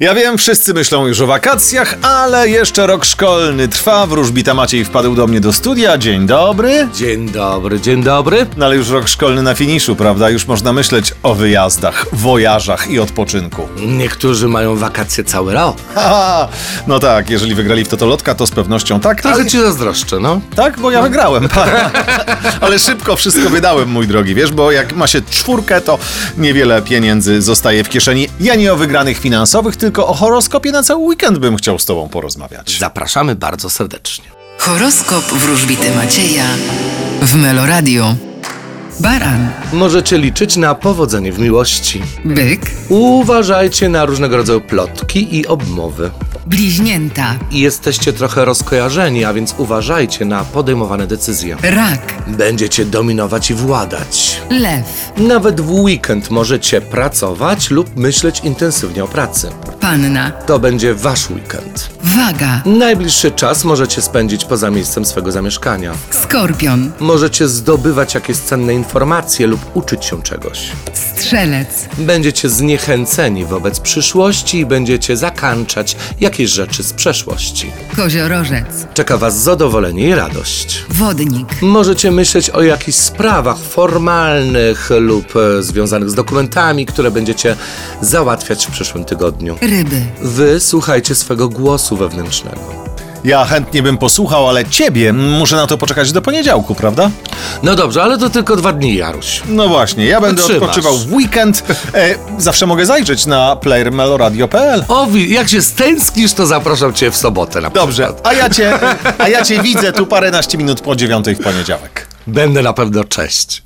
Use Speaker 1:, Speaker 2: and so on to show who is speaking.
Speaker 1: Ja wiem, wszyscy myślą już o wakacjach, ale jeszcze rok szkolny trwa. Wróżbita Maciej wpadł do mnie do studia. Dzień dobry.
Speaker 2: Dzień dobry, dzień dobry.
Speaker 1: No ale już rok szkolny na finiszu, prawda? Już można myśleć o wyjazdach, wojażach i odpoczynku.
Speaker 2: Niektórzy mają wakacje cały rok.
Speaker 1: Haha, no tak, jeżeli wygrali w Totolotka, to z pewnością tak.
Speaker 2: Trochę
Speaker 1: ale-
Speaker 2: ci zazdroszczę, no.
Speaker 1: Tak, bo ja wygrałem. Ale szybko wszystko wydałem, mój drogi, wiesz, bo jak ma się czwórkę, to niewiele pieniędzy zostaje w kieszeni. Ja nie o wygranych finansowych, tylko o horoskopie na cały weekend bym chciał z tobą porozmawiać.
Speaker 2: Zapraszamy bardzo serdecznie.
Speaker 3: Horoskop wróżbity Macieja w Meloradio. Baran,
Speaker 2: Możecie liczyć na powodzenie w miłości.
Speaker 3: byk,
Speaker 2: Uważajcie na różnego rodzaju plotki i obmowy.
Speaker 3: bliźnięta,
Speaker 2: I Jesteście trochę rozkojarzeni, a więc uważajcie na podejmowane decyzje.
Speaker 3: rak,
Speaker 2: Będziecie dominować i władać.
Speaker 3: lew,
Speaker 2: Nawet w weekend możecie pracować lub myśleć intensywnie o pracy.
Speaker 3: panna,
Speaker 2: To będzie wasz weekend.
Speaker 3: waga,
Speaker 2: Najbliższy czas możecie spędzić poza miejscem swego zamieszkania.
Speaker 3: skorpion,
Speaker 2: Możecie zdobywać jakieś cenne informacje lub uczyć się czegoś.
Speaker 3: strzelec,
Speaker 2: Będziecie zniechęceni wobec przyszłości i będziecie zakańczać jakieś rzeczy z przeszłości.
Speaker 3: koziorożec,
Speaker 2: Czeka Was zadowolenie i radość.
Speaker 3: wodnik,
Speaker 2: Możecie myśleć o jakichś sprawach formalnych lub e, związanych z dokumentami, które będziecie załatwiać w przyszłym tygodniu.
Speaker 3: ryby,
Speaker 2: Wy słuchajcie swego głosu wewnętrznego.
Speaker 1: Ja chętnie bym posłuchał, ale ciebie muszę na to poczekać do poniedziałku, prawda?
Speaker 2: No dobrze, ale to tylko dwa dni, Jaruś.
Speaker 1: No właśnie, ja będę
Speaker 2: Wytrzymasz.
Speaker 1: odpoczywał w weekend. E, zawsze mogę zajrzeć na playermeloradio.pl.
Speaker 2: O, wi- jak się stęsknisz, to zapraszam Cię w sobotę na
Speaker 1: Dobrze, a ja cię, a ja cię widzę tu paręnaście minut po dziewiątej w poniedziałek.
Speaker 2: Będę na pewno cześć.